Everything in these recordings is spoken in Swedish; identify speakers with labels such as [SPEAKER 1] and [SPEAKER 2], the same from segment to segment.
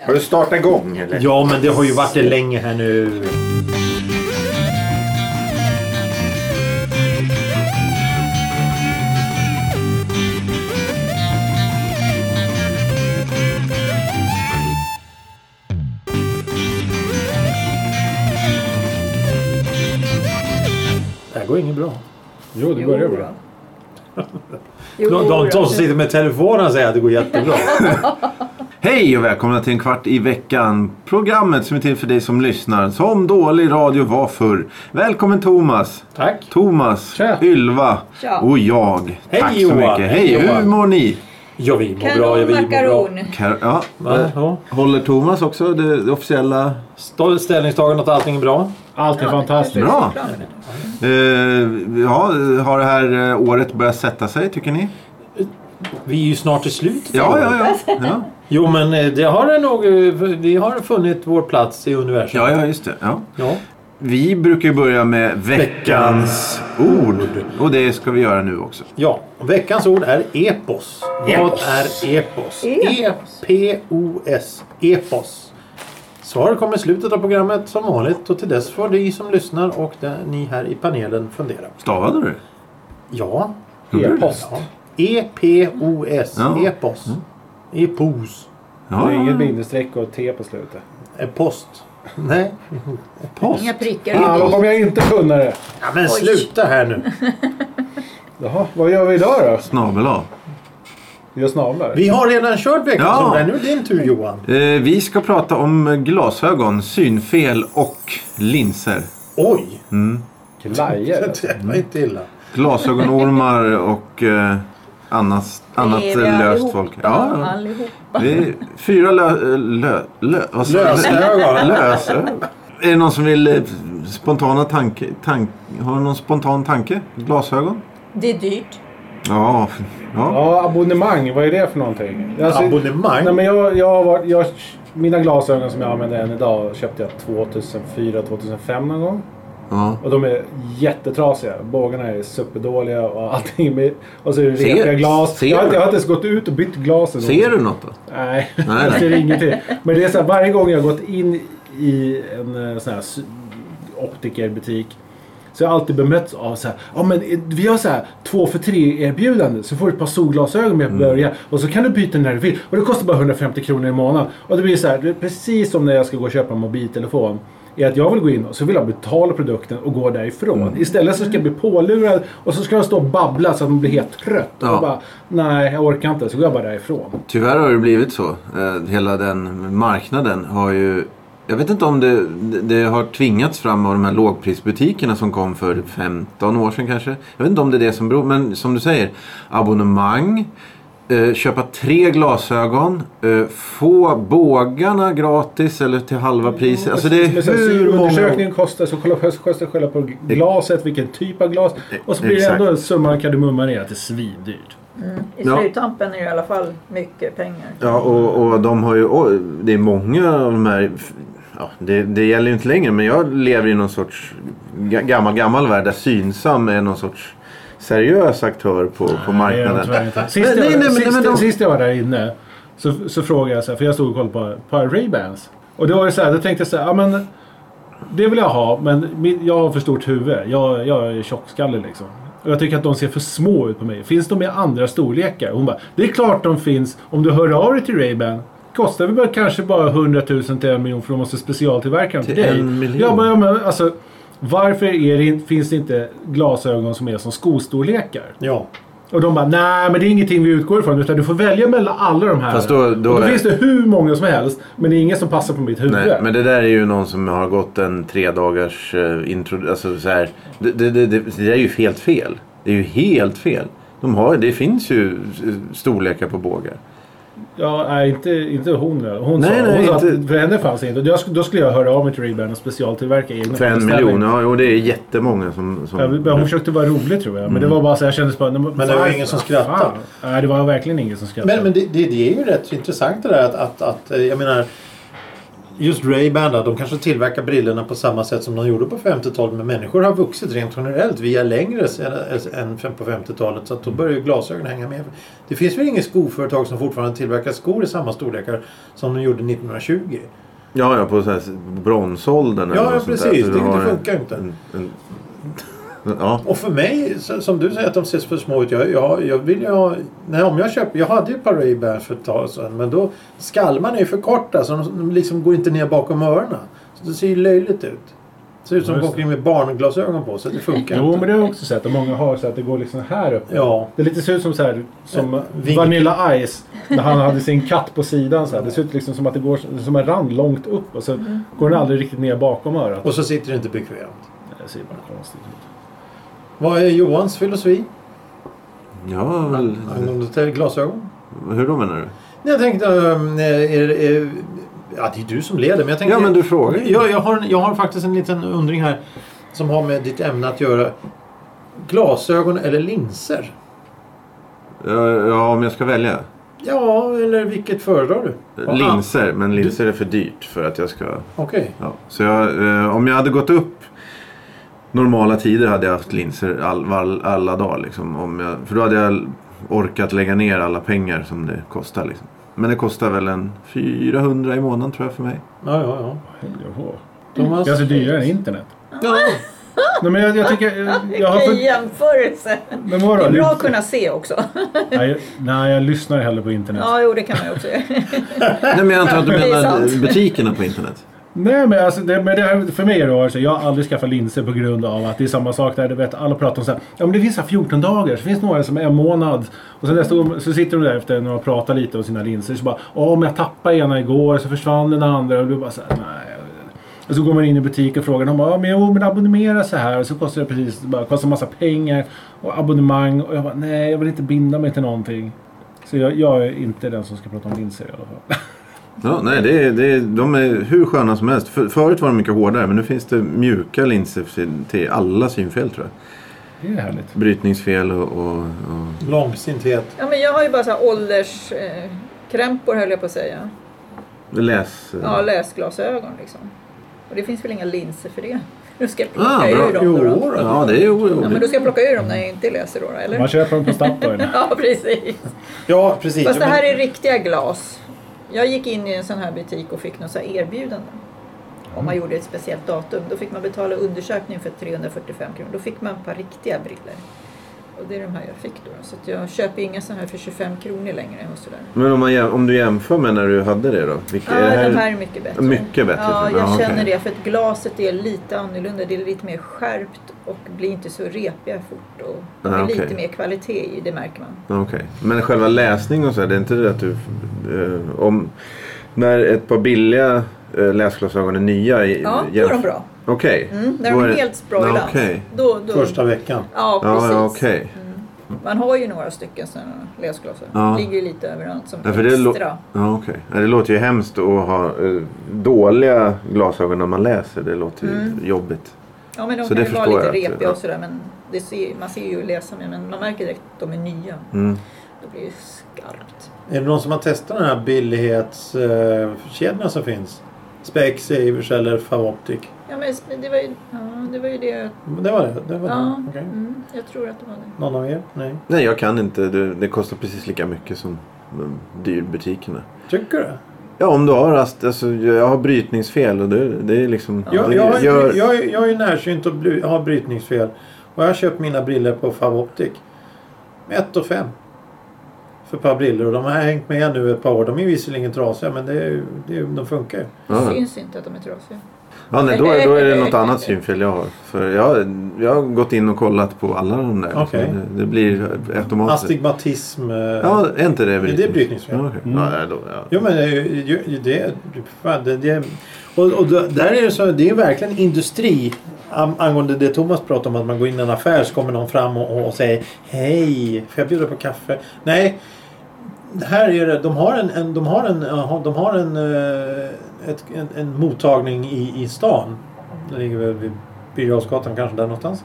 [SPEAKER 1] Har du startat igång eller?
[SPEAKER 2] Ja, men det har ju varit det länge här nu. Det här går inget bra.
[SPEAKER 3] Jo, det börjar bra.
[SPEAKER 2] De,
[SPEAKER 3] Jo,
[SPEAKER 2] de,
[SPEAKER 3] då.
[SPEAKER 2] de som sitter med telefonen säger att det går jättebra.
[SPEAKER 1] Hej och välkomna till en kvart i veckan. Programmet som är till för dig som lyssnar. Som dålig radio var förr. Välkommen Thomas.
[SPEAKER 2] Tack.
[SPEAKER 1] Thomas,
[SPEAKER 3] Tja.
[SPEAKER 1] Ylva
[SPEAKER 4] Tja.
[SPEAKER 1] och jag.
[SPEAKER 2] Hej,
[SPEAKER 1] Tack så
[SPEAKER 2] Johan.
[SPEAKER 1] mycket. Hej,
[SPEAKER 2] Johan.
[SPEAKER 1] hur mår ni?
[SPEAKER 2] Ja, vi mår bra. Ja,
[SPEAKER 4] Kanon
[SPEAKER 2] vi mår bra.
[SPEAKER 4] makaron.
[SPEAKER 1] Kar- ja.
[SPEAKER 2] Va? Ja.
[SPEAKER 1] Håller Thomas också det, det officiella?
[SPEAKER 2] Stå- Ställningstagande att allting är bra.
[SPEAKER 3] Allt är fantastiskt.
[SPEAKER 1] Bra. Eh, ja, har det här eh, året börjat sätta sig tycker ni?
[SPEAKER 2] Vi är ju snart till slut.
[SPEAKER 1] Ja, ja, ja. Ja,
[SPEAKER 2] Jo, men eh, det har det nog. eh, Vi har funnit vår plats i universum.
[SPEAKER 1] ja, ja just det. Ja.
[SPEAKER 2] Ja.
[SPEAKER 1] Vi brukar ju börja med veckans ord. Och det ska vi göra nu också.
[SPEAKER 2] Ja, veckans ord är epos. Vad
[SPEAKER 1] Epos.
[SPEAKER 2] är epos? E
[SPEAKER 4] Epos.
[SPEAKER 2] E-P-O-S. Epos. Svaret kommer i slutet av programmet som vanligt och till dess får ni som lyssnar och där ni här i panelen fundera.
[SPEAKER 1] Stavade du det?
[SPEAKER 2] Ja.
[SPEAKER 3] E-post.
[SPEAKER 2] ja. E E-P-O-S.
[SPEAKER 1] Ja. Mm.
[SPEAKER 2] Epos. Epos.
[SPEAKER 3] Det
[SPEAKER 1] Ja,
[SPEAKER 3] är
[SPEAKER 1] ja,
[SPEAKER 3] inget
[SPEAKER 1] ja.
[SPEAKER 3] bindestreck och T på slutet.
[SPEAKER 2] Post. Nej.
[SPEAKER 1] Post.
[SPEAKER 4] Inga prickar.
[SPEAKER 3] Fan, vad kommer jag inte kunna det?
[SPEAKER 2] Ja, men
[SPEAKER 4] Oj.
[SPEAKER 2] sluta här nu.
[SPEAKER 3] Jaha, vad gör vi idag då?
[SPEAKER 1] Snabel A.
[SPEAKER 3] Jag snablar.
[SPEAKER 2] Vi har redan kört veckans
[SPEAKER 1] Ja.
[SPEAKER 2] ord. här. Nu är det din tur Johan.
[SPEAKER 1] Eh, vi ska prata om glasögon, synfel och linser.
[SPEAKER 2] Oj!
[SPEAKER 3] Glajer.
[SPEAKER 2] Det var inte illa.
[SPEAKER 3] Mm.
[SPEAKER 1] Glasögonormar och eh, annars, annat
[SPEAKER 4] Är vi
[SPEAKER 1] löst
[SPEAKER 4] allihopa?
[SPEAKER 1] folk. Ja, ja.
[SPEAKER 4] Allihopa.
[SPEAKER 1] Vi är fyra lö, lö, lö, vad sa jag?
[SPEAKER 2] Lösögon.
[SPEAKER 1] Lösögon. Är det någon som vill eh, spontana tanke? Tank, har du någon spontan tanke? Glasögon?
[SPEAKER 4] Det är dyrt.
[SPEAKER 1] Ja. ja.
[SPEAKER 3] Ja, abonnemang. Vad är det för någonting? Alltså,
[SPEAKER 2] Abonnemang.
[SPEAKER 3] Nej, men jag, jag har varit, jag, mina glasögon som jag använder än idag köpte jag 2004-2005 någon gång.
[SPEAKER 1] ja.
[SPEAKER 3] Och de är jättetrasiga. Bågarna är superdåliga och allting. Med, och så är det
[SPEAKER 1] Ser-
[SPEAKER 3] repiga glas.
[SPEAKER 1] ser
[SPEAKER 3] jag, har inte-
[SPEAKER 1] du?
[SPEAKER 3] jag har inte ens gått ut och bytt glasen.
[SPEAKER 1] Ser du något då?
[SPEAKER 3] Nej,
[SPEAKER 1] nej.
[SPEAKER 3] jag ser ingenting. Men det är så här, varje gång jag har gått in i en eh, sån här sy- optikerbutik så har jag alltid bemötts av så här, ja men eh, vi har så här två för tre erbjudande så får du ett par solglasögon med på
[SPEAKER 1] Mm.
[SPEAKER 3] början och så kan du byta när du vill och det kostar bara 150 kronor i månaden. Och det blir så här, det är precis som när jag ska gå och köpa en mobiltelefon. Är att jag vill gå in och så vill jag betala produkten och gå därifrån.
[SPEAKER 1] Mm.
[SPEAKER 3] Istället så ska jag bli pålurad och så ska jag stå och babbla så att man blir helt trött.
[SPEAKER 1] Ja.
[SPEAKER 3] Och bara, nej jag orkar inte. Så går jag bara därifrån.
[SPEAKER 1] Tyvärr har det blivit så. Eh, Hela den marknaden har ju... Jag vet inte om det, det har tvingats fram av de här lågprisbutikerna som kom för 15 år sedan kanske. Jag vet inte om det är det som beror Men som du säger, abonnemang. Eh, köpa tre glasögon. Eh, få bågarna gratis eller till halva priset. Alltså det är
[SPEAKER 3] Men sen
[SPEAKER 1] hur många...
[SPEAKER 3] Undersökningen kostar så kolla först kostar kolla på glaset, vilken typ av glas. Och så blir det
[SPEAKER 1] Exakt.
[SPEAKER 3] ändå summan av kardemumman är att det är svindyrt.
[SPEAKER 4] I
[SPEAKER 1] Ja.
[SPEAKER 4] sluttampen är det i alla fall mycket pengar.
[SPEAKER 1] Ja, och, och de har ju... oj, det är många av de här... Ja, det, det gäller ju inte längre, men jag lever i någon sorts ga- gammal, gammal värld där Synsam är någon sorts seriös aktör på, på
[SPEAKER 3] Det är de
[SPEAKER 1] marknaden.
[SPEAKER 3] tyvärr inte. Sist
[SPEAKER 1] Men- nej,
[SPEAKER 3] jag-
[SPEAKER 1] nej, men- nej, men
[SPEAKER 3] sist-
[SPEAKER 1] de-
[SPEAKER 3] Sist jag var där inne så, så frågade jag så här, för jag stod och kollade på ett par Ray-Bans. Och det var ju så här, då tänkte jag så här, ja men det vill jag ha, men min- jag har för stort huvud. Jag, jag är tjockskallig liksom. Och jag tycker att de ser för små ut på mig. Finns de i andra storlekar? Hon bara, det är klart de finns om du hör av dig till Ray-Ban. Kostar vi bara, kanske bara 100 000 till en miljon för de måste specialtillverka dem till,
[SPEAKER 1] Till
[SPEAKER 3] dig.
[SPEAKER 1] en miljon?
[SPEAKER 3] Jag bara, ja, men alltså, varför är det, in- finns det inte glasögon som är som skostorlekar?
[SPEAKER 2] Ja.
[SPEAKER 3] Och de bara, nej men det är ingenting vi utgår ifrån utan du får välja mellan alla de här.
[SPEAKER 1] Fast då- då
[SPEAKER 3] och då
[SPEAKER 1] är-
[SPEAKER 3] finns det hur många som helst men det är ingen som passar på mitt huvud.
[SPEAKER 1] Nej, men det där är ju någon som har gått en tre dagars eh, intro... Alltså så här, det, det, det, det, det där är ju helt fel. Det är ju helt fel. De har, det finns ju eh, storlekar på bågar.
[SPEAKER 3] Ja, nej, inte, inte hon. Hon,
[SPEAKER 1] Nej,
[SPEAKER 3] sa,
[SPEAKER 1] nej,
[SPEAKER 3] hon sa
[SPEAKER 1] inte-
[SPEAKER 3] att för henne fanns det inte. Och jag sk- Då skulle jag höra av mig till Ray-Ban och specialtillverka egna.
[SPEAKER 1] För en
[SPEAKER 3] beställning.
[SPEAKER 1] miljon, ja. Mm. Och det är jättemånga som... som
[SPEAKER 3] Ja, men Hon försökte vara rolig tror jag. Men
[SPEAKER 1] Mm.
[SPEAKER 3] det var bara så här, jag kändes bara... Men
[SPEAKER 2] det var ingen som skrattade.
[SPEAKER 3] Nej, det var verkligen ingen som skrattade.
[SPEAKER 2] Men, men det, det, det är ju rätt intressant det där att, att, att eh, jag menar just Ray-Ban då, de kanske tillverkar brillorna på samma sätt som de gjorde på 50-talet. Men människor har vuxit rent generellt via längre s- än fem- på 50-talet. Så att då börjar ju glasögonen hänga med. Det finns väl inget skoföretag som fortfarande tillverkar skor i samma storlekar som de gjorde 1920?
[SPEAKER 1] Ja, ja, på så här bronsåldern.
[SPEAKER 2] Ja,
[SPEAKER 1] eller
[SPEAKER 2] ja,
[SPEAKER 1] något sånt där.
[SPEAKER 2] precis.
[SPEAKER 1] Så
[SPEAKER 2] Det-
[SPEAKER 1] du har
[SPEAKER 2] det
[SPEAKER 1] en-
[SPEAKER 2] funkar ju inte.
[SPEAKER 1] En, en, ja.
[SPEAKER 2] Och för mig, så- som du säger att de ses för små ut. Jag, jag, jag vill ju ha... Nej, om jag köper... Jag hade ju ett par Ray-Ban för ett tag sedan. Men då... Skalmarna är ju för korta så de, de liksom går inte ner bakom öronen. Så det ser ju löjligt ut. Det ser ut som
[SPEAKER 3] Ja,
[SPEAKER 2] att
[SPEAKER 3] just
[SPEAKER 2] de åker in med barnglasögon på sig. Det funkar
[SPEAKER 3] Jo,
[SPEAKER 2] inte.
[SPEAKER 3] men det har jag också sett. Och många har så att det går liksom här uppe.
[SPEAKER 2] Ja.
[SPEAKER 3] Det är lite ser ut som, så här, som
[SPEAKER 2] Vink.
[SPEAKER 3] Vanilla Ice. När han hade sin katt på sidan. Så här. Det ser ut liksom som att det går som en rand långt upp. Och så
[SPEAKER 4] Mm.
[SPEAKER 3] går den aldrig riktigt ner bakom örat.
[SPEAKER 2] Och så sitter det inte bekvämt.
[SPEAKER 3] Det ser bara konstigt ut.
[SPEAKER 2] Vad är Johans filosofi?
[SPEAKER 1] ja väl,
[SPEAKER 2] Angående till glasögon?
[SPEAKER 1] hur då menar du?
[SPEAKER 2] Nej, Jag tänkte... ehm, är, är, är, ja, det är du som leder. Men jag tänkte...
[SPEAKER 1] Ja, men du frågar ju.
[SPEAKER 2] Jag, jag, har, en- jag har faktiskt en liten undring här som har med ditt ämne att göra. Glasögon eller linser?
[SPEAKER 1] Ja, ja, om jag ska välja.
[SPEAKER 2] Ja, eller vilket föredrar du? Ja,
[SPEAKER 1] Linser, men linser är för dyrt för att jag ska...
[SPEAKER 2] ah, Okej.
[SPEAKER 1] Ja. Så jag, eh, om jag hade gått upp normala tider hade jag haft linser all, all, alla dagar. Liksom, om jag, för då hade jag orkat lägga ner alla pengar som det kostar. Liksom. Men det kostar väl en 400 i månaden tror jag för mig.
[SPEAKER 2] Ja, ja, ja.
[SPEAKER 3] Jaha.
[SPEAKER 2] Thomas?
[SPEAKER 3] Det är alltså dyrare än internet.
[SPEAKER 2] Ja,
[SPEAKER 3] Nej, men jag, jag tycker... Jag, jag har
[SPEAKER 4] Vilken
[SPEAKER 3] för,
[SPEAKER 4] jämförelse!
[SPEAKER 3] men vadå?
[SPEAKER 4] Det är bra att
[SPEAKER 3] Lyssna-
[SPEAKER 4] kunna se också.
[SPEAKER 3] Nej, jag- nej, jag lyssnar hellre på internet.
[SPEAKER 4] Ja, jo, det kan man ju också göra.
[SPEAKER 1] Nej, men jag antar att du
[SPEAKER 4] Det är sant.
[SPEAKER 1] menar butikerna på internet.
[SPEAKER 3] Nej, men, alltså, det, men det här, för mig är det alltså, jag har aldrig skaffat linser på grund av att det är samma sak där. Du vet, alla pratar om så här, ja men det finns så här 14 dagar, så finns några som är en månad. Och sen nästa gång så sitter de där efter när de pratar lite om sina linser. Så bara, ja men jag tappade ena igår, så försvann den andra. Och du bara så här, nej. Och så går man in i butiken och frågar, de bara, ja men jo men abonnera så här. Och så kostar det precis, bara, kostar massa pengar och abonnemang. Och jag bara, nej jag vill inte binda mig till någonting. Så jag, jag är inte den som ska prata om linser i alla fall.
[SPEAKER 1] Ja, nej, det är, det är, de är hur sköna som helst. För, förut var de mycket hårdare men nu finns det mjuka linser till- till alla synfel tror jag.
[SPEAKER 3] Det är härligt.
[SPEAKER 1] Brytningsfel och... och, och
[SPEAKER 2] långsinthet.
[SPEAKER 4] Ja, men jag har ju bara så här ålderskrämpor höll jag på att säga.
[SPEAKER 1] läs...
[SPEAKER 4] Ja, läsglasögon liksom. Och det finns väl inga linser för det. Nu ska jag plocka
[SPEAKER 1] Ah, bra.
[SPEAKER 4] ur dem då. då.
[SPEAKER 2] Jo, då.
[SPEAKER 1] Ja, det är ju...
[SPEAKER 4] Ja, men då ska jag plocka ur dem när jag inte läser då, då
[SPEAKER 3] Man
[SPEAKER 4] eller?
[SPEAKER 3] köper dem på Statoil.
[SPEAKER 4] Ja, precis.
[SPEAKER 2] Ja, precis.
[SPEAKER 4] Fast det här
[SPEAKER 2] Men-
[SPEAKER 4] är riktiga glas. Jag gick in i en sån här butik och fick något så här erbjudande. Om
[SPEAKER 1] Mm.
[SPEAKER 4] man gjorde ett speciellt datum. Då fick man betala undersökning för 345 kronor. Då fick man ett par riktiga briller. Och det är de här jag fick då. Så att jag köper inga såna här för 25 kronor längre. Och sådär.
[SPEAKER 1] Men om, man, jäm- om du jämför med när du hade det då? Vilka,
[SPEAKER 4] Ja,
[SPEAKER 1] är det här-
[SPEAKER 4] de här är mycket bättre.
[SPEAKER 1] Mycket bättre
[SPEAKER 4] Ja,
[SPEAKER 1] för
[SPEAKER 4] jag
[SPEAKER 1] mig. Ja,
[SPEAKER 4] känner
[SPEAKER 1] okej.
[SPEAKER 4] det. För att glaset är lite annorlunda. Det är lite mer skärpt och blir inte så repiga fort. Och det är
[SPEAKER 1] Ja, Ah, okej.
[SPEAKER 4] lite mer kvalitet i, det märker man.
[SPEAKER 1] Okej. Men själva läsning och så här, det är inte det att du... eh, om, när ett par billiga eh, läsglasögon är nya... i-
[SPEAKER 4] Ja, då är
[SPEAKER 1] jämf-
[SPEAKER 4] de bra.
[SPEAKER 1] Okej.
[SPEAKER 4] Mm, när
[SPEAKER 1] Då
[SPEAKER 4] de
[SPEAKER 1] är
[SPEAKER 4] är
[SPEAKER 1] det-
[SPEAKER 4] helt bra i
[SPEAKER 1] Ja,
[SPEAKER 4] dans.
[SPEAKER 1] okej.
[SPEAKER 4] Då, då,
[SPEAKER 2] Första veckan.
[SPEAKER 4] Ja,
[SPEAKER 1] Ja,
[SPEAKER 4] precis. Mm.
[SPEAKER 1] ja, okej.
[SPEAKER 4] Man har ju några stycken sådana läsglasögon.
[SPEAKER 1] Ja.
[SPEAKER 4] Ligger ju lite överallt som
[SPEAKER 1] Ja, för det
[SPEAKER 4] extra.
[SPEAKER 1] lå- Ja, okej. Ja, Det låter ju hemskt att ha eh, dåliga glasögon när man läser. Det låter ju
[SPEAKER 2] Mm.
[SPEAKER 1] jobbigt.
[SPEAKER 4] ja, men de
[SPEAKER 1] så
[SPEAKER 4] kan
[SPEAKER 1] det
[SPEAKER 4] ju vara
[SPEAKER 1] förstår
[SPEAKER 4] lite
[SPEAKER 1] jag att-
[SPEAKER 4] repiga
[SPEAKER 1] ja.
[SPEAKER 4] och sådär. Men det ser, man ser ju att läsa med. Men man märker direkt att de är nya.
[SPEAKER 1] Mm.
[SPEAKER 4] Då blir det skarpt.
[SPEAKER 2] Är det någon som har testat den här billighetskedjorna som finns? Specsavers eller Favoptic?
[SPEAKER 4] Ja, men det var ju, ja, det, var ju det.
[SPEAKER 2] Det var det? det, var
[SPEAKER 4] Ja,
[SPEAKER 2] det. Okej.
[SPEAKER 4] mm, jag tror att det var det.
[SPEAKER 2] Någon av er? Nej.
[SPEAKER 1] Nej, jag kan inte. Det, det kostar precis lika mycket som de dyrbutikerna.
[SPEAKER 2] Tycker du?
[SPEAKER 1] Ja, om du har rast, alltså, jag har brytningsfel och det, det är liksom...
[SPEAKER 2] Jag,
[SPEAKER 1] det
[SPEAKER 2] jag, har ju-
[SPEAKER 1] gör-
[SPEAKER 2] jag, är- jag är närsynt och bly, har brytningsfel. Och jag har köpt mina briller på Favoptic. 1 och 5. För ett par briller. Och de har hängt med nu ett par år. De är visserligen trasiga men det är, ju- det är, ju- de funkar ju.
[SPEAKER 1] Ja.
[SPEAKER 4] Syns inte att de är trasiga.
[SPEAKER 1] Ja, nej, då, är- då är det något annat synfel jag har. För jag, jag har gått in och kollat på alla de där.
[SPEAKER 2] Okej.
[SPEAKER 1] Så Det, det blir automatiskt.
[SPEAKER 2] Astigmatism. eh,
[SPEAKER 1] Ja, är inte det brytningsfel?
[SPEAKER 2] Det är brytningsfel.
[SPEAKER 1] Ja, okej.
[SPEAKER 3] Mm.
[SPEAKER 1] ja, då, ja.
[SPEAKER 2] Jo men det, är ju- ju- ju- det, fan, det, det och, och det- där är det så, det är verkligen industri. Am- Angående det Thomas pratade om att man går in i en affär så kommer någon fram och, och säger Hej, får jag bjuda på kaffe? Nej, här är det, de har en, en, de har en, eh, de har en, eh, ett, en, en mottagning i, i stan. Det ligger väl vid Birger Jarlsgatan kanske där någonstans.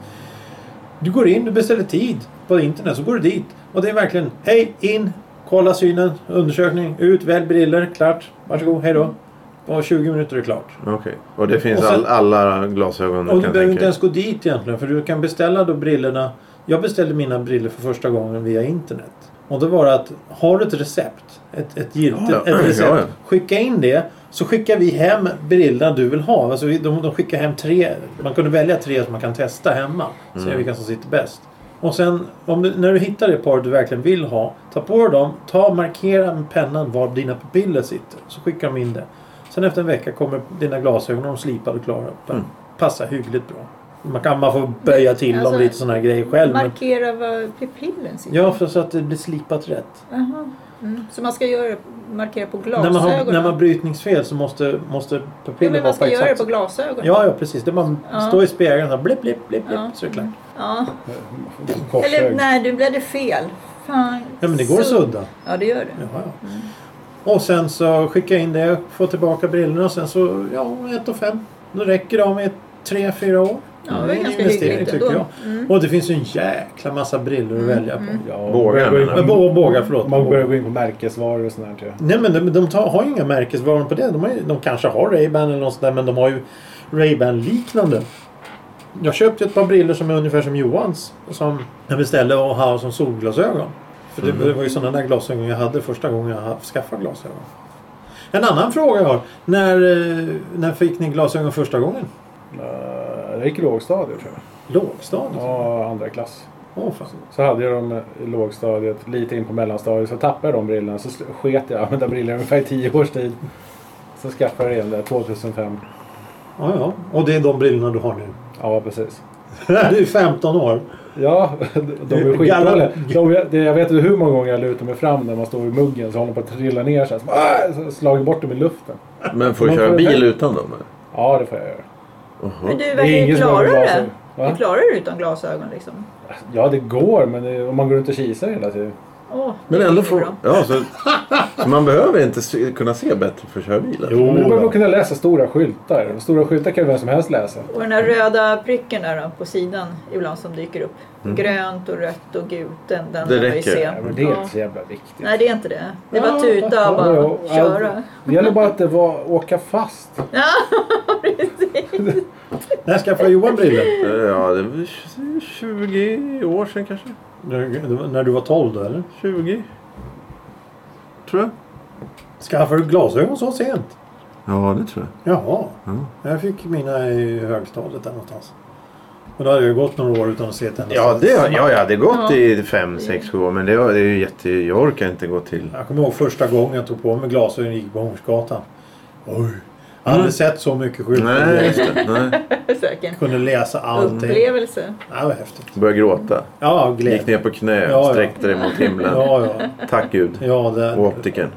[SPEAKER 2] Du går in, du beställer tid på internet så går du dit. Och det är verkligen hej, in, kolla synen, undersökning, ut, välj briller, klart, varsågod, hej då. På 20 minuter är det klart.
[SPEAKER 1] Okej. Och det finns
[SPEAKER 2] Och sen-
[SPEAKER 1] all, alla glasögon
[SPEAKER 2] Och
[SPEAKER 1] du
[SPEAKER 2] du
[SPEAKER 1] kan
[SPEAKER 2] behöver
[SPEAKER 1] tänka
[SPEAKER 2] inte
[SPEAKER 1] dig?
[SPEAKER 2] ens gå dit egentligen för du kan beställa då brillorna. Jag beställde mina briller för första gången via internet. Och det var att har du ett recept, ett, ett giltigt
[SPEAKER 1] Ja, ja.
[SPEAKER 2] ett recept,
[SPEAKER 1] Ja, ja.
[SPEAKER 2] skicka in det så skickar vi hem brillorna du vill ha. Alltså vi, de, de skickar hem tre, man kunde välja tre som man kan testa hemma. Se
[SPEAKER 1] Mm.
[SPEAKER 2] vilka som sitter bäst. Och sen om du, när du hittar det par du verkligen vill ha, ta på dig dem, ta och markera med pennan var dina pupiller sitter. Så skickar de in det. Sen efter en vecka kommer dina glasögon och de slipade och klara. Mm. Passar hyggligt bra. Man, kan, man får böja till
[SPEAKER 4] Alltså,
[SPEAKER 2] dem lite sådana här grejer själv. Men,
[SPEAKER 4] Markera var pupillen sitter.
[SPEAKER 2] ja, för så att det blir slipat rätt.
[SPEAKER 4] Jaha. Mm. Så man ska göra, markera på
[SPEAKER 2] När
[SPEAKER 4] glasögonen?
[SPEAKER 2] man, har, när man har brytningsfel så måste, måste
[SPEAKER 4] ja,
[SPEAKER 2] pupillen
[SPEAKER 4] men
[SPEAKER 2] vara
[SPEAKER 4] man
[SPEAKER 2] på
[SPEAKER 4] ska göra det
[SPEAKER 2] exakt...
[SPEAKER 4] på glasögonen?
[SPEAKER 2] Ja, ja precis. Det man
[SPEAKER 4] Ja.
[SPEAKER 2] står i spegeln och blipp, blipp, blipp, blipp
[SPEAKER 4] Ja.
[SPEAKER 2] så är det klart.
[SPEAKER 4] Ja. Eller
[SPEAKER 3] Korsög.
[SPEAKER 4] nej, du blev det fel. Fan.
[SPEAKER 2] Ja, men det går att sudda.
[SPEAKER 4] Ja, det gör det.
[SPEAKER 2] Ja, ja.
[SPEAKER 4] Mm.
[SPEAKER 2] Och sen så skickar jag in det, får tillbaka brillorna och sen så, ja, ett och fem. Då räcker de i tre, fyra år.
[SPEAKER 4] Ja, det är
[SPEAKER 2] en
[SPEAKER 4] ganska hyggligt
[SPEAKER 2] tycker
[SPEAKER 4] ändå. Mm.
[SPEAKER 2] jag. Och det finns ju en jäkla massa brillor att välja på.
[SPEAKER 1] Bågar,
[SPEAKER 3] Ja, börjar gå in-
[SPEAKER 1] menar
[SPEAKER 2] Men bå- bågar, förlåt.
[SPEAKER 3] Man börjar gå in på märkesvaror och sånt där. tror jag.
[SPEAKER 2] Nej men de, de tar, har ju inga märkesvaror på det. De, har, ju- de kanske har Ray-Ban eller något sånt där men de har ju Ray-Ban liknande. Jag köpte ett par briller som är ungefär som Johans. Som jag beställde och har som solglasögon. För det, det var ju sådana där glasögon jag hade första gången jag ha- skaffade glasögon. En annan fråga jag har. När, eh, när fick ni glasögon första gången?
[SPEAKER 3] Eh, Jag gick i lågstadiet tror jag.
[SPEAKER 2] Lågstadiet? Åh
[SPEAKER 3] Ja, andra klass.
[SPEAKER 2] fan.
[SPEAKER 3] Så hade jag dem i lågstadiet, lite in på mellanstadiet. Så tappade jag de brillorna. Så sl- sket jag använda brillor ungefär i tio års tid. Så skaffade jag igen det 2005.
[SPEAKER 2] Ja, ja. Och det är de brillorna du har nu.
[SPEAKER 3] Ja, precis.
[SPEAKER 2] du är 15 år.
[SPEAKER 3] Ja, de är skitdåliga. De- det- Jag vet inte hur många gånger jag lutar mig fram när man står vid muggen så håller de på att trilla ner så här. Så, ah, så slagit bort dem i luften.
[SPEAKER 1] Men får du
[SPEAKER 3] Man
[SPEAKER 1] köra
[SPEAKER 3] får-
[SPEAKER 1] bil utan dem? eller?
[SPEAKER 3] Ja, det får jag göra.
[SPEAKER 4] Men
[SPEAKER 1] Jaha.
[SPEAKER 4] du,
[SPEAKER 3] Det är
[SPEAKER 4] verkar
[SPEAKER 3] ingen
[SPEAKER 4] du
[SPEAKER 3] som har
[SPEAKER 4] klarar det.
[SPEAKER 3] glasögon. Va?
[SPEAKER 4] Du klarar det utan glasögon liksom.
[SPEAKER 3] Ja, det går, men det, om man går runt och kisar hela tiden.
[SPEAKER 4] Åh,
[SPEAKER 1] Men
[SPEAKER 4] det
[SPEAKER 1] ändå
[SPEAKER 4] är
[SPEAKER 1] får...
[SPEAKER 4] bra.
[SPEAKER 1] Ja, så, så man behöver inte se, kunna se bättre för att köra bil? eller?
[SPEAKER 2] Jo.
[SPEAKER 3] Men du behöver
[SPEAKER 2] då.
[SPEAKER 3] kunna läsa stora skyltar. Stora skyltar kan ju vem som helst läsa.
[SPEAKER 4] Och den där röda pricken där då, på sidan ibland som dyker upp. Grönt och rött och gult. Den, den
[SPEAKER 1] Det
[SPEAKER 4] kan man ju
[SPEAKER 1] räcker.
[SPEAKER 4] se.
[SPEAKER 3] Ja, men det är inte så jävla viktigt.
[SPEAKER 4] Nej, det är inte det. Det är
[SPEAKER 3] Ja,
[SPEAKER 4] bara tuta och bara
[SPEAKER 3] ja, ja.
[SPEAKER 4] köra.
[SPEAKER 3] Det gäller bara att det var åka fast.
[SPEAKER 2] När skaffade Johan brillor?
[SPEAKER 1] Eh, Ja, det var 20 år sedan kanske.
[SPEAKER 2] När- När du var 12 då eller?
[SPEAKER 1] 20. Tror jag.
[SPEAKER 2] Skaffade du glasögon så sent?
[SPEAKER 1] Ja, det tror jag.
[SPEAKER 2] Jaha.
[SPEAKER 1] Ja.
[SPEAKER 2] Jag fick mina i högstadiet där någonstans. Och då hade jag gått några år utan att se ett enda
[SPEAKER 1] Ja,
[SPEAKER 2] stort.
[SPEAKER 1] det, ja, jag hade gått
[SPEAKER 4] Ja.
[SPEAKER 1] i 5, 6, 7 år. Men det, var- det är ju jätte... Jag orkar inte gå till...
[SPEAKER 2] Jag kommer ihåg första gången jag tog på mig glasögon och gick på Hornsgatan. Oj. Jag hade
[SPEAKER 1] Mm.
[SPEAKER 2] sett så mycket
[SPEAKER 1] Nej, just
[SPEAKER 2] skyltar.
[SPEAKER 1] det. Nej.
[SPEAKER 4] Säkert.
[SPEAKER 2] Kunde läsa allting.
[SPEAKER 4] Upplevelse.
[SPEAKER 2] Ja, det var häftigt.
[SPEAKER 1] Började gråta.
[SPEAKER 2] Ja,
[SPEAKER 1] Gick
[SPEAKER 2] glädje.
[SPEAKER 1] ner på knä.
[SPEAKER 2] Ja, ja.
[SPEAKER 1] Sträckte dig mot himlen.
[SPEAKER 2] Ja, ja.
[SPEAKER 1] Tack Gud.
[SPEAKER 2] ja det...
[SPEAKER 1] Och optiken.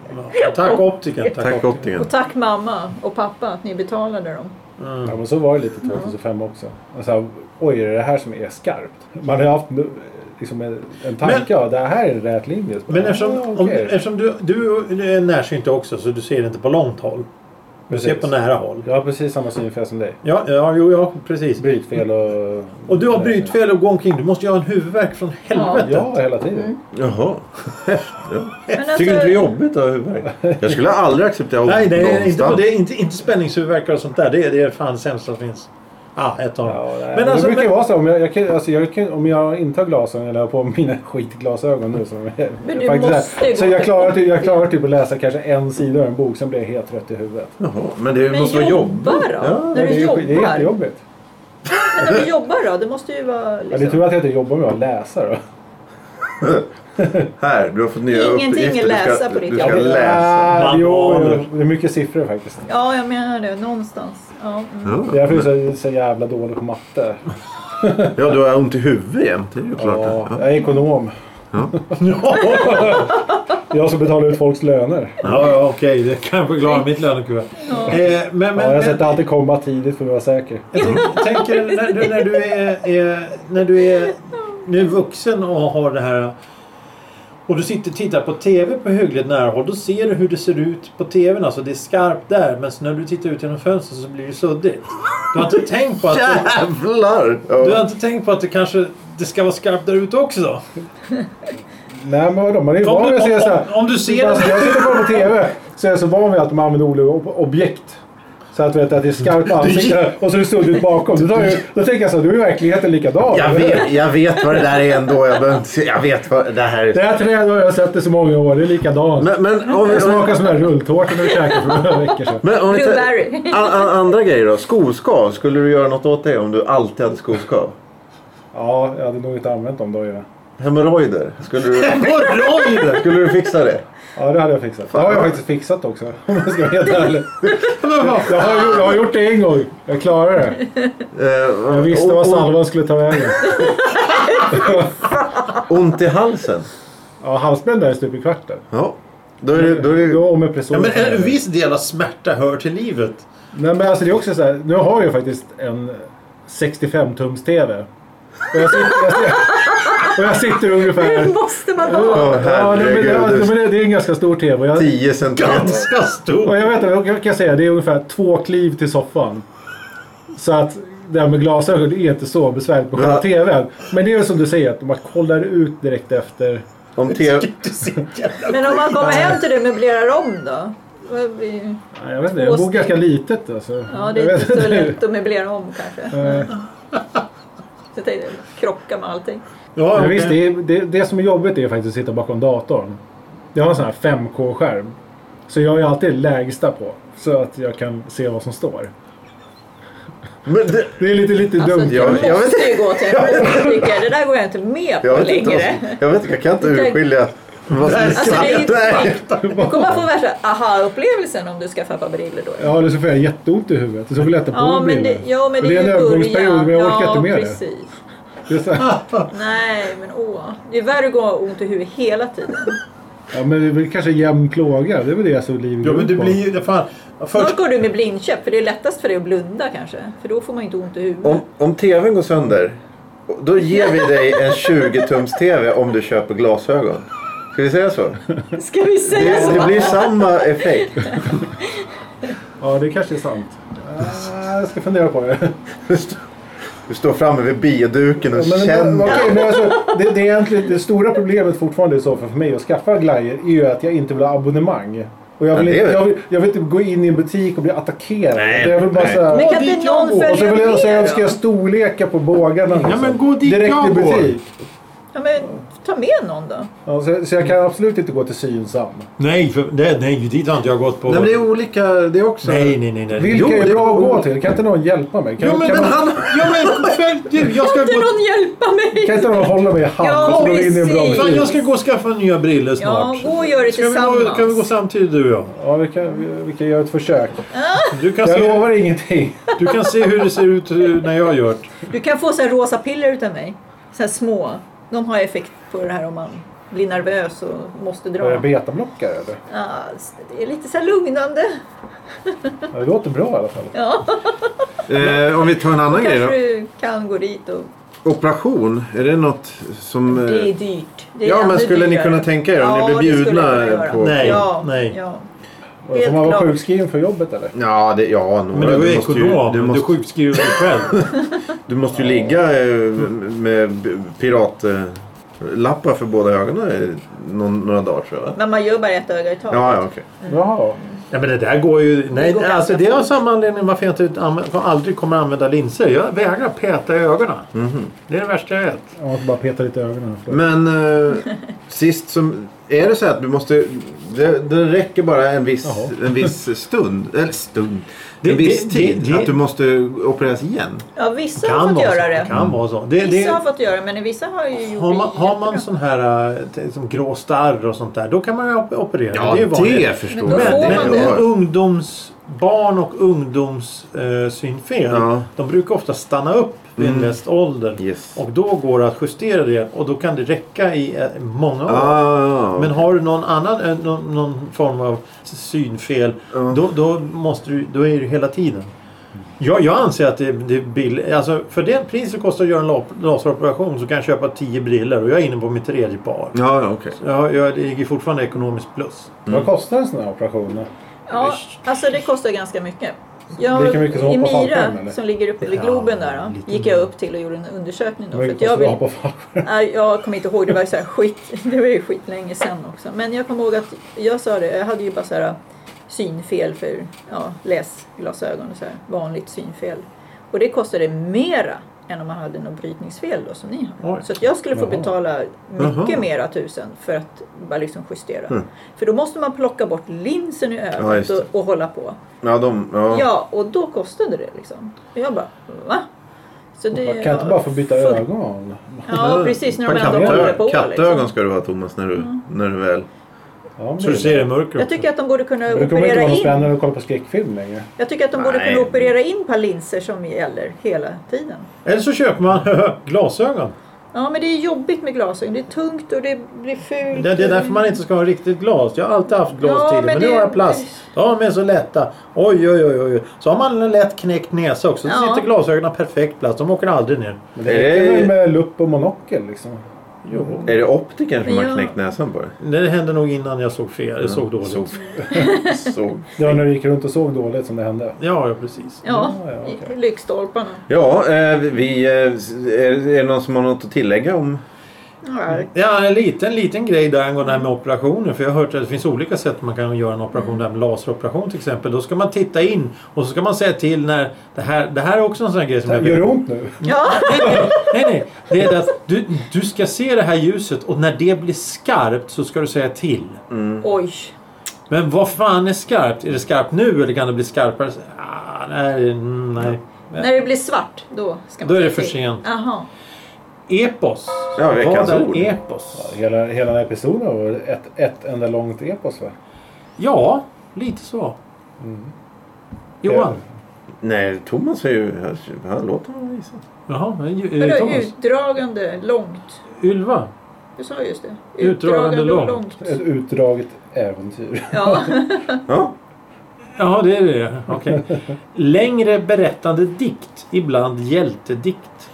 [SPEAKER 2] Ja, Tack optiken. Tack,
[SPEAKER 1] Tack
[SPEAKER 2] optiken.
[SPEAKER 1] optiken.
[SPEAKER 4] Och tack mamma och pappa att ni betalade dem.
[SPEAKER 2] Mm.
[SPEAKER 3] Ja, men så var det lite 2005 också. Alltså, oj, är det det här som är skarpt? Man har ju haft nu- liksom en, en tanke,
[SPEAKER 2] Men-
[SPEAKER 3] ja, det här är en rät linje. Så bara,
[SPEAKER 2] Men eftersom,
[SPEAKER 3] ah,
[SPEAKER 2] om,
[SPEAKER 3] okej.
[SPEAKER 2] eftersom du, du är närsynt också så du ser inte på långt håll. Du ser
[SPEAKER 3] Precis.
[SPEAKER 2] på nära håll.
[SPEAKER 3] Jag har precis samma synfel som dig.
[SPEAKER 2] Ja, ja, jo, ja precis.
[SPEAKER 3] Brytfel och...
[SPEAKER 2] Och du har brytfel och går omkring. Du måste ju ha en huvudvärk från helvete.
[SPEAKER 3] Ja, hela
[SPEAKER 2] Mm.
[SPEAKER 3] tiden.
[SPEAKER 1] Jaha.
[SPEAKER 4] Men
[SPEAKER 1] Tycker
[SPEAKER 4] alltså,
[SPEAKER 1] du inte det är jobbigt att ha huvudvärk? Jag skulle aldrig acceptera
[SPEAKER 2] Nej, det är inte, på
[SPEAKER 1] någonstans.
[SPEAKER 2] det är inte, inte spänningshuvudvärk och sånt där. Det är, det är fan sämst som finns. Ah, ett av
[SPEAKER 3] Ja,
[SPEAKER 2] dem.
[SPEAKER 3] nej,
[SPEAKER 2] men
[SPEAKER 3] men
[SPEAKER 2] alltså,
[SPEAKER 3] det brukar ju
[SPEAKER 2] men,
[SPEAKER 3] vara så. Om jag, jag, kan- alltså, jag, kan- om jag inte har glasögon eller har på mig mina skitglasögon nu. Som är,
[SPEAKER 4] Men du
[SPEAKER 3] faktiskt
[SPEAKER 4] måste
[SPEAKER 3] är-
[SPEAKER 4] ju
[SPEAKER 3] så
[SPEAKER 4] gå
[SPEAKER 3] jag
[SPEAKER 4] till
[SPEAKER 3] klarar,
[SPEAKER 4] botten.
[SPEAKER 3] typ, jag klarar typ att läsa kanske en sida ur en bok. Sen blir jag helt trött i huvudet.
[SPEAKER 1] Jaha, men det
[SPEAKER 4] men
[SPEAKER 1] måste vara
[SPEAKER 4] jobba då?
[SPEAKER 1] jobbigt. Ja.
[SPEAKER 4] När
[SPEAKER 3] det,
[SPEAKER 4] du
[SPEAKER 3] är, ju- det är
[SPEAKER 4] jobbar?
[SPEAKER 3] jättejobbigt.
[SPEAKER 4] Men när du jobbar då? Det måste ju vara...
[SPEAKER 3] Ja, det är
[SPEAKER 4] Liksom,
[SPEAKER 3] tur att jag inte jobbar med att läsa då.
[SPEAKER 1] Här, du har fått nya
[SPEAKER 4] Ingenting är
[SPEAKER 1] uppgifter. Du ska-
[SPEAKER 4] läsa på ditt
[SPEAKER 1] Du ska
[SPEAKER 4] jobb.
[SPEAKER 1] läsa.
[SPEAKER 3] Ah, jo,
[SPEAKER 2] Manualer.
[SPEAKER 3] jo, det är mycket siffror faktiskt.
[SPEAKER 4] ja, jag menar det. Någonstans. Ja, mm.
[SPEAKER 1] Ja.
[SPEAKER 3] Det är därför jag är så, så jävla dålig på matte.
[SPEAKER 1] Ja, du har ont i huvudet jämt. Det är ju klart.
[SPEAKER 3] Ja,
[SPEAKER 1] Ja.
[SPEAKER 3] jag är ekonom. Jag som betalar ut folks löner.
[SPEAKER 2] ja, ja, okej. Det kan förklara mitt lönekuvert. Eh, men, men,
[SPEAKER 3] Ja, jag
[SPEAKER 2] men,
[SPEAKER 3] sätter alltid komma tidigt för att vara säker.
[SPEAKER 2] jag tänk- Mm. tänker när du, när du är, är, när du är nu vuxen och har det här och du sitter och tittar på TV på hyggligt nära håll. Då ser du hur det ser ut på TVn. Alltså det är skarpt där. Men så när du tittar ut genom fönstret så blir det suddigt. Du har inte tänkt på att det,
[SPEAKER 1] Jävlar!
[SPEAKER 2] Du har
[SPEAKER 1] Ja.
[SPEAKER 2] inte tänkt på att det kanske det ska vara skarpt där ute också?
[SPEAKER 3] Nej men vadå, man är ju
[SPEAKER 2] Om
[SPEAKER 3] van vid
[SPEAKER 2] du,
[SPEAKER 3] att se
[SPEAKER 2] om,
[SPEAKER 3] såhär.
[SPEAKER 2] om, om du ser
[SPEAKER 3] Alltså,
[SPEAKER 2] det...
[SPEAKER 3] jag sitter bara på TV. så är jag så van vid att de använder olika ob- objekt. Så att, vet, att det är skarpa ansikten och så är det suddigt bakom. Då, tar jag, då tänker jag så här, då är verkligheten likadan.
[SPEAKER 1] Jag vet, jag vet vad det där är ändå. Jag, behöver inte se- jag vet vad det här
[SPEAKER 3] Det
[SPEAKER 1] är.
[SPEAKER 3] här trädet har jag sett det så många år, det är likadant.
[SPEAKER 1] Men, men om vi...
[SPEAKER 3] Det
[SPEAKER 1] Om vi
[SPEAKER 3] smakar som den här rulltårtan du käkade för några veckor sedan.
[SPEAKER 1] men om vi tar-
[SPEAKER 4] Blueberry.
[SPEAKER 1] An- an- andra grejer då? Skoskav, skulle du göra något åt det om du alltid hade skoskav?
[SPEAKER 3] Ja, jag hade nog inte använt dem då. Ja,
[SPEAKER 1] Hemorrojder, skulle du...
[SPEAKER 2] Hemorrojder?
[SPEAKER 1] Skulle du fixa det?
[SPEAKER 3] ja det hade jag fixat. Det har jag faktiskt fixat också. Om jag ska vara helt ärlig. Jag har, gjort, jag har gjort det en gång. Jag klarade det.
[SPEAKER 1] Eh,
[SPEAKER 3] Jag visste
[SPEAKER 1] o-
[SPEAKER 3] vad
[SPEAKER 1] o-
[SPEAKER 3] salvan skulle ta vägen.
[SPEAKER 1] Ont i halsen?
[SPEAKER 3] Ja, halsbränna är stup i kvarten.
[SPEAKER 1] Ja. Då är det... Då är det... eh,
[SPEAKER 3] Då med presor.
[SPEAKER 2] Ja, men en viss del av smärta hör till livet.
[SPEAKER 3] Nej men alltså det är också så här, nu har jag faktiskt en 65-tums-TV. Och jag sitter, jag, sitter- och jag sitter ungefär...
[SPEAKER 4] Det måste man
[SPEAKER 3] Ja,
[SPEAKER 4] ha.
[SPEAKER 3] ja, nej, men, det- ja,
[SPEAKER 1] herregud.
[SPEAKER 3] nej, men det, det är en ganska stor TV. Och jag,
[SPEAKER 1] 10 centimeter.
[SPEAKER 2] Ganska stor.
[SPEAKER 3] och jag vet inte, jag kan säga det är ungefär två kliv till soffan. Så att det här med glasögon det är inte så besvärligt på själva
[SPEAKER 1] Ja.
[SPEAKER 3] TVn. Men det är ju som du säger, att man kollar ut direkt efter.
[SPEAKER 1] Om te-
[SPEAKER 2] Du ser jävla-
[SPEAKER 4] Men om man kommer hem till det och möblerar om då? Vad blir-
[SPEAKER 3] Nej, Jag vet inte, jag bor ganska litet alltså.
[SPEAKER 4] Ja, det
[SPEAKER 3] Jag
[SPEAKER 4] är
[SPEAKER 3] vet
[SPEAKER 4] inte så
[SPEAKER 3] inte.
[SPEAKER 4] lätt att möblera om kanske.
[SPEAKER 3] Eh,
[SPEAKER 4] Så tänkte jag, krocka med allting.
[SPEAKER 2] Ja,
[SPEAKER 3] Men
[SPEAKER 2] okej.
[SPEAKER 3] visst, det, är, det, det som är jobbigt är faktiskt att sitta bakom datorn. Jag har en sån här 5K-skärm. Så jag är alltid lägsta på. Så att jag kan se vad som står.
[SPEAKER 1] Men det...
[SPEAKER 3] Det är lite, lite
[SPEAKER 4] Alltså,
[SPEAKER 3] dumt.
[SPEAKER 4] det
[SPEAKER 1] jag- jag
[SPEAKER 4] måste ju gå till en optiker. Det där går jag inte med på
[SPEAKER 1] Jag vet, inte, vad
[SPEAKER 4] längre.
[SPEAKER 1] som- jag vet inte, jag kan inte
[SPEAKER 4] Det där-
[SPEAKER 1] urskilja vad som är
[SPEAKER 4] Alltså, det är ju
[SPEAKER 1] sant. Nej.
[SPEAKER 4] Du kommer få värsta aha-upplevelsen om du skaffar par briller då.
[SPEAKER 3] Ja, eller så får jag jätteont i huvudet. Och så vill jag ta på
[SPEAKER 4] Ja,
[SPEAKER 3] mig
[SPEAKER 4] men det,
[SPEAKER 3] brillor.
[SPEAKER 4] ja, men
[SPEAKER 3] Och
[SPEAKER 4] det är
[SPEAKER 3] en
[SPEAKER 4] ju
[SPEAKER 3] övergångsperiod,
[SPEAKER 4] början.
[SPEAKER 3] men jag orkar
[SPEAKER 4] ja,
[SPEAKER 3] inte med det.
[SPEAKER 4] precis.
[SPEAKER 3] det är så här,
[SPEAKER 4] Nej, men åh. Det är värre att gå ont i huvudet hela tiden.
[SPEAKER 3] ja, men det är väl kanske jämn plåga. Det är väl det som livet
[SPEAKER 2] Ja,
[SPEAKER 3] går
[SPEAKER 2] men
[SPEAKER 3] ut
[SPEAKER 2] du
[SPEAKER 3] på.
[SPEAKER 2] blir ju... Fan. Först,
[SPEAKER 4] Snart går du med blindkäpp, för det är lättast för dig att blunda kanske. För då får man ju inte ont i huvudet.
[SPEAKER 1] Om, om tvn går sönder, då ger vi dig en 20-tums-tv om du köper glasögon. Ska vi säga så?
[SPEAKER 4] Ska vi säga
[SPEAKER 1] Det,
[SPEAKER 4] så?
[SPEAKER 1] det blir samma effekt.
[SPEAKER 3] Ja, det kanske är sant. Ah, Jag ska fundera på det.
[SPEAKER 1] Du står- Du står framme vid bioduken och
[SPEAKER 3] Ja, Men, men,
[SPEAKER 1] känner.
[SPEAKER 3] okej, men alltså, det, det, är egentligen, det stora problemet fortfarande i så fall för mig att skaffa glajjor är ju att jag inte vill ha abonnemang. Och jag vill,
[SPEAKER 1] Ja, det är
[SPEAKER 3] inte,
[SPEAKER 1] väl-
[SPEAKER 3] jag, vill, jag vill inte gå in i en butik och bli attackerad.
[SPEAKER 1] Nej,
[SPEAKER 3] jag vill bara
[SPEAKER 1] nej.
[SPEAKER 3] så här,
[SPEAKER 4] Men
[SPEAKER 3] "Åh,
[SPEAKER 4] kan
[SPEAKER 3] dit
[SPEAKER 4] inte
[SPEAKER 3] jag
[SPEAKER 4] någon
[SPEAKER 3] går." Och så
[SPEAKER 4] följa
[SPEAKER 3] vill jag
[SPEAKER 4] med
[SPEAKER 3] säga
[SPEAKER 4] då?
[SPEAKER 3] önskar jag storlekar på bågarna. liksom.
[SPEAKER 2] men gå dit
[SPEAKER 3] Direkt
[SPEAKER 2] jag
[SPEAKER 3] i
[SPEAKER 2] går.
[SPEAKER 3] butik.
[SPEAKER 4] Ja, men ta med någon då.
[SPEAKER 3] Ja, så, så jag kan absolut inte gå till Synsam.
[SPEAKER 2] nej, för, det, nej, dit har inte jag gått på.
[SPEAKER 1] Nej, men det är olika det också.
[SPEAKER 2] nej, nej, nej. nej.
[SPEAKER 3] Vilka
[SPEAKER 1] Jo, det-
[SPEAKER 3] är bra att gå till? Kan inte någon hjälpa mig? Kan,
[SPEAKER 2] Jo, men,
[SPEAKER 3] kan,
[SPEAKER 2] men
[SPEAKER 3] någon-
[SPEAKER 2] han... Jo, men följ du. Jag ska
[SPEAKER 4] Kan
[SPEAKER 2] gå...
[SPEAKER 4] inte någon hjälpa mig?
[SPEAKER 3] kan inte någon hålla mig i hand?
[SPEAKER 4] Ja,
[SPEAKER 3] och så går vi in i en bra
[SPEAKER 4] precis.
[SPEAKER 2] Fan,
[SPEAKER 3] butik.
[SPEAKER 2] jag ska gå och skaffa nya briller snart.
[SPEAKER 4] Ja, gå och gör det
[SPEAKER 2] Ska vi gå-
[SPEAKER 4] tillsammans.
[SPEAKER 2] Kan vi gå samtidigt du och jag?
[SPEAKER 3] Ja, vi, kan, vi, vi kan göra ett försök.
[SPEAKER 2] Du kan,
[SPEAKER 3] Jag
[SPEAKER 2] se,
[SPEAKER 3] lovar ingenting.
[SPEAKER 2] du kan se hur det ser ut eh, när jag har gjort.
[SPEAKER 4] Du kan få så här rosa piller utav mig. Så här små. De har effekt på det här om man blir nervös och måste
[SPEAKER 3] Är det
[SPEAKER 4] dra.
[SPEAKER 3] betablockare eller?
[SPEAKER 4] Ja, det är lite så här lugnande.
[SPEAKER 3] Ja, Det låter bra i alla fall.
[SPEAKER 4] Ja,
[SPEAKER 1] Eh, om vi tar en annan grej
[SPEAKER 4] kanske
[SPEAKER 1] då.
[SPEAKER 4] du kan gå dit och...
[SPEAKER 1] Operation, är det något som...
[SPEAKER 4] Det är
[SPEAKER 1] Eh,
[SPEAKER 4] dyrt. Det är
[SPEAKER 1] ja, men
[SPEAKER 4] ännu
[SPEAKER 1] skulle ni
[SPEAKER 4] dyrare.
[SPEAKER 1] kunna tänka er om
[SPEAKER 4] Ja,
[SPEAKER 1] ni blir
[SPEAKER 4] det skulle
[SPEAKER 1] bjudna
[SPEAKER 4] jag kunna göra.
[SPEAKER 1] på...
[SPEAKER 2] Nej.
[SPEAKER 4] ja, Ja.
[SPEAKER 3] Och Får man vara
[SPEAKER 4] klart.
[SPEAKER 3] sjukskriven för jobbet eller?
[SPEAKER 1] Ja, det, ja några.
[SPEAKER 2] Men du är
[SPEAKER 1] måste ju-
[SPEAKER 2] ekonom.
[SPEAKER 1] Du
[SPEAKER 2] Du
[SPEAKER 1] måste,
[SPEAKER 2] sjukskriver dig själv.
[SPEAKER 1] du måste ju ligga eh, med piratlappar för båda ögonen i någon, några dagar tror jag. va?
[SPEAKER 4] Men man gör bara ett öga i taget.
[SPEAKER 1] Ja, ja, okej.
[SPEAKER 3] Jaha.
[SPEAKER 2] Nej, men det där går ju... Nej,
[SPEAKER 4] Det går
[SPEAKER 2] alltså,
[SPEAKER 4] ganska
[SPEAKER 2] det är av
[SPEAKER 4] fort.
[SPEAKER 2] samma anledning varför jag inte använder, aldrig kommer att använda linser. Jag vägrar peta i ögonen. Det är det värsta jag vet.
[SPEAKER 3] Jag måste bara peta lite i ögonen.
[SPEAKER 1] Men eh, sist som... Är det så att du måste... Det, det räcker bara en viss,
[SPEAKER 3] Jaha.
[SPEAKER 1] en viss stund. Eller stund.
[SPEAKER 2] Det-
[SPEAKER 1] en viss
[SPEAKER 2] det-
[SPEAKER 1] tid.
[SPEAKER 2] det- det-
[SPEAKER 1] att du måste opereras igen.
[SPEAKER 4] Ja, vissa har fått
[SPEAKER 2] vara
[SPEAKER 4] göra
[SPEAKER 2] så.
[SPEAKER 4] det.
[SPEAKER 2] kan vara så. Det,
[SPEAKER 4] Vissa
[SPEAKER 2] det,
[SPEAKER 4] har fått göra men vissa har ju gjort
[SPEAKER 2] har,
[SPEAKER 4] det
[SPEAKER 2] man, har man
[SPEAKER 4] jättebra.
[SPEAKER 2] sån här eh, t- som grå starr och sånt där, då kan man ju op- operera.
[SPEAKER 1] Ja,
[SPEAKER 2] det är ju vanligt.
[SPEAKER 1] det förstår
[SPEAKER 4] Men då
[SPEAKER 1] jag.
[SPEAKER 4] får
[SPEAKER 2] Men,
[SPEAKER 4] man
[SPEAKER 2] men
[SPEAKER 4] det.
[SPEAKER 1] Ja.
[SPEAKER 2] ungdomsbarn och ungdomssynfel,
[SPEAKER 1] Ja.
[SPEAKER 2] de brukar ofta stanna upp vid en
[SPEAKER 1] Mm.
[SPEAKER 2] viss ålder.
[SPEAKER 1] Yes.
[SPEAKER 2] Och då går det att justera det och då kan det räcka i eh, många år.
[SPEAKER 1] Ah,
[SPEAKER 2] Men har du någon annan eh, någon, någon form av synfel
[SPEAKER 1] Ja.
[SPEAKER 2] då, då, måste du, då är du hela tiden. Jag, jag anser att det, det är billigt. Alltså, för det pris det kostar att göra en la- laseroperation så kan jag köpa 10 briller och jag är inne på mitt tredje par.
[SPEAKER 1] Ja, ja, okej.
[SPEAKER 2] Jag, jag ligger fortfarande ekonomiskt plus.
[SPEAKER 1] Mm.
[SPEAKER 3] Vad kostar en sån här operation?
[SPEAKER 4] Ja, alltså det kostar ganska mycket. Jag,
[SPEAKER 3] Lika mycket som
[SPEAKER 4] I
[SPEAKER 3] hoppa fallskärm,
[SPEAKER 4] Mira
[SPEAKER 3] eller?
[SPEAKER 4] som ligger uppe vid
[SPEAKER 2] Ja,
[SPEAKER 4] Globen där
[SPEAKER 2] lite
[SPEAKER 4] då, gick jag upp till och gjorde en undersökning då. För
[SPEAKER 3] Hur
[SPEAKER 4] att jag,
[SPEAKER 3] kostar det att
[SPEAKER 4] vill,
[SPEAKER 3] hoppa fallskärm?
[SPEAKER 4] nej, jag kommer inte ihåg, det var ju så här skit, det var ju skit länge sedan också. Men jag kommer ihåg att jag sa det, jag hade ju bara så här synfel för ja, läsglasögon och så här, vanligt synfel. Och det kostade mera än om man hade något brytningsfel då som ni har.
[SPEAKER 2] Oj.
[SPEAKER 4] Så att jag skulle få
[SPEAKER 3] Jaha.
[SPEAKER 4] betala mycket
[SPEAKER 1] Jaha.
[SPEAKER 4] mera tusen för att bara liksom justera.
[SPEAKER 1] Mm.
[SPEAKER 4] För då måste man plocka bort linsen i
[SPEAKER 1] Ja,
[SPEAKER 4] ögat
[SPEAKER 1] just det.
[SPEAKER 4] och, och hålla på.
[SPEAKER 1] Ja, de...
[SPEAKER 4] Ja.
[SPEAKER 1] Ja.
[SPEAKER 4] och då kostade det liksom. Och jag bara, va? Så det,
[SPEAKER 3] Man kan inte bara få byta
[SPEAKER 4] full-
[SPEAKER 3] ögon?
[SPEAKER 4] Ja, precis. När de
[SPEAKER 1] Kattö-
[SPEAKER 4] ändå håller på
[SPEAKER 1] Kattögon
[SPEAKER 4] liksom.
[SPEAKER 1] ska du ha Thomas när du, när du väl...
[SPEAKER 3] Ja, men
[SPEAKER 2] Så du
[SPEAKER 3] det-
[SPEAKER 2] ser i mörker
[SPEAKER 4] Jag
[SPEAKER 2] också.
[SPEAKER 4] tycker att de borde kunna
[SPEAKER 3] Men det kommer inte
[SPEAKER 4] operera
[SPEAKER 3] vara något
[SPEAKER 4] in.
[SPEAKER 3] spännande att kolla på skräckfilm längre.
[SPEAKER 4] Jag tycker att de borde
[SPEAKER 1] Nej.
[SPEAKER 4] kunna operera in par linser som gäller hela tiden.
[SPEAKER 2] Eller så köper man glasögon.
[SPEAKER 4] Ja, men det är jobbigt med glasögon. Det är tungt och det blir fult.
[SPEAKER 2] Det, det är därför man inte ska ha riktigt glas. Jag har alltid haft glas
[SPEAKER 4] Ja,
[SPEAKER 2] tidigare men,
[SPEAKER 4] men
[SPEAKER 2] nu
[SPEAKER 4] det-
[SPEAKER 2] har jag plast. Ja, de är så lätta. Oj, oj, oj, oj. Så har man en lätt knäckt näsa också. Då
[SPEAKER 4] Ja.
[SPEAKER 2] sitter glasögonen perfekt plats. De åker aldrig ner.
[SPEAKER 3] Men
[SPEAKER 1] Är
[SPEAKER 3] det
[SPEAKER 1] det-
[SPEAKER 3] räcker väl med lupp och monokel liksom.
[SPEAKER 2] Jo.
[SPEAKER 1] Är det optikern som har
[SPEAKER 4] Ja.
[SPEAKER 1] knäckt näsan på det?
[SPEAKER 2] Det hände nog innan jag såg fel. Jag såg dåligt.
[SPEAKER 1] Såg. Såg.
[SPEAKER 3] Det var när du gick runt och såg dåligt som det hände.
[SPEAKER 2] Ja, ja, precis.
[SPEAKER 4] Ja,
[SPEAKER 3] Ja, ja,
[SPEAKER 4] i-
[SPEAKER 3] okej.
[SPEAKER 4] lyktstolparna.
[SPEAKER 1] Ja, eh, vi, eh, är, är det någon som har något att tillägga om...
[SPEAKER 4] Ja,
[SPEAKER 2] Ja, en liten, liten grej där angående det här med operationer. För jag har hört att det finns olika sätt man kan göra en operation. Det här med laseroperation till exempel. Då ska man titta in och så ska man säga till när... Det här, det här är också en sån här grej som jag
[SPEAKER 3] Gör det ont nu?
[SPEAKER 4] ja.
[SPEAKER 2] Nej, nej. Det är det att du, du ska se det här ljuset och när det blir skarpt så ska du säga till. Mm.
[SPEAKER 4] oj.
[SPEAKER 2] Men vad fan är skarpt? Är det skarpt nu eller kan det bli skarpare? Ah, nej, mm, nej.
[SPEAKER 4] När det blir svart, då ska man
[SPEAKER 2] Då är det
[SPEAKER 4] säga
[SPEAKER 2] för
[SPEAKER 4] till.
[SPEAKER 2] sent.
[SPEAKER 4] Jaha.
[SPEAKER 2] Epos.
[SPEAKER 1] Ja, veckans
[SPEAKER 2] vad är
[SPEAKER 1] ord.
[SPEAKER 2] epos?
[SPEAKER 3] Hela, hela den här episoden var ett, ett enda långt epos va? Mm.
[SPEAKER 2] Ja, lite så. Johan.
[SPEAKER 1] Nej, Thomas är ju... Han låter honom visa.
[SPEAKER 2] Jaha, men, eh,
[SPEAKER 4] Vadå,
[SPEAKER 2] Thomas.
[SPEAKER 4] utdragande långt?
[SPEAKER 2] Ylva.
[SPEAKER 4] Du sa just det.
[SPEAKER 2] Utdragande
[SPEAKER 4] och
[SPEAKER 2] långt.
[SPEAKER 3] Ett utdraget äventyr.
[SPEAKER 4] Ja.
[SPEAKER 1] Ja,
[SPEAKER 2] Ja, det är det. Okej. Längre berättande dikt. Ibland hjältedikt.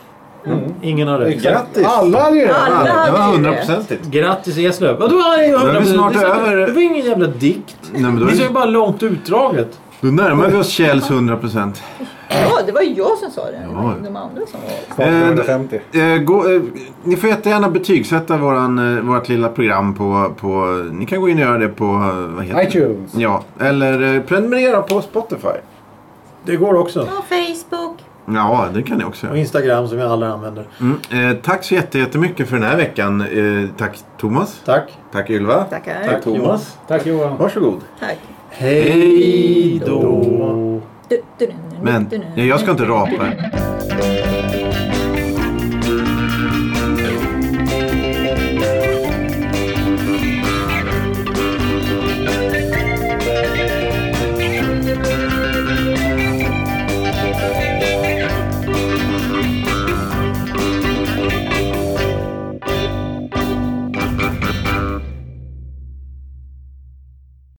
[SPEAKER 3] Mm.
[SPEAKER 2] Ingen har rätt.
[SPEAKER 1] grattis!
[SPEAKER 3] Alla hade ju det!
[SPEAKER 4] Alla
[SPEAKER 1] det
[SPEAKER 4] hade
[SPEAKER 1] var
[SPEAKER 4] ju det.
[SPEAKER 1] hundraprocentigt.
[SPEAKER 2] Grattis Eslöv! Vadå?
[SPEAKER 1] Då är vi snart över.
[SPEAKER 2] Det var ingen jävla dikt.
[SPEAKER 1] Nej, men då,
[SPEAKER 2] Det är ju
[SPEAKER 1] är,
[SPEAKER 2] bara långt utdraget.
[SPEAKER 1] då närmar vi oss Kjells 100 procent.
[SPEAKER 4] ja, det var ju jag som sa det. Det var
[SPEAKER 1] Ja.
[SPEAKER 4] inte de andra som var
[SPEAKER 3] Snart 150.
[SPEAKER 1] Eh, gå, eh, ni får jättegärna betygsätta våran, eh, vårt lilla program på, på... Ni kan gå in och göra det på... eh, Vad heter
[SPEAKER 3] iTunes.
[SPEAKER 1] Det? Ja, eller eh, prenumerera på Spotify.
[SPEAKER 2] Det går också.
[SPEAKER 4] Ja, Facebook.
[SPEAKER 1] Ja, det kan ni också
[SPEAKER 2] Och
[SPEAKER 1] göra.
[SPEAKER 2] Instagram som vi alla använder.
[SPEAKER 1] Mm. Eh, tack så jätte- jättemycket för den här veckan. Eh, tack Thomas.
[SPEAKER 2] Tack.
[SPEAKER 1] Tack Ylva.
[SPEAKER 4] Tackar.
[SPEAKER 1] Tack Thomas.
[SPEAKER 3] Tack Johan.
[SPEAKER 1] Varsågod.
[SPEAKER 4] Tack.
[SPEAKER 1] Hej
[SPEAKER 2] då.
[SPEAKER 4] Du- du- du- du-
[SPEAKER 1] Men
[SPEAKER 4] du- du-
[SPEAKER 1] jag ska inte rapa.